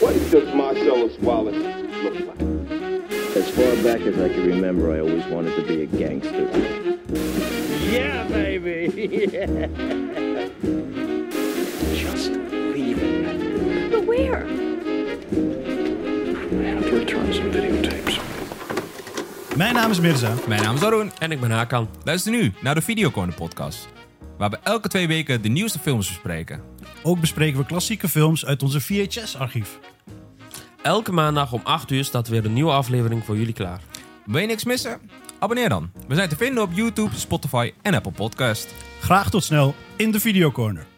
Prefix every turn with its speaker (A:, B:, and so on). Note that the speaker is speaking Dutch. A: what does Marcellus Wallace look like?
B: As far back as I can remember, I always wanted to be a gangster.
C: Yeah, baby.
D: Just leave it.
E: But where?
D: I have to return some videotapes.
F: Mijn naam is Mirza.
G: Mijn naam is Arun.
H: En ik ben Hakan.
G: Luister nu naar de Videocorner podcast. Waar we elke twee weken de nieuwste films bespreken.
F: Ook bespreken we klassieke films uit onze VHS-archief.
H: Elke maandag om 8 uur staat weer een nieuwe aflevering voor jullie klaar.
G: Wil je niks missen? Abonneer dan. We zijn te vinden op YouTube, Spotify en Apple Podcast.
F: Graag tot snel in de Videocorner.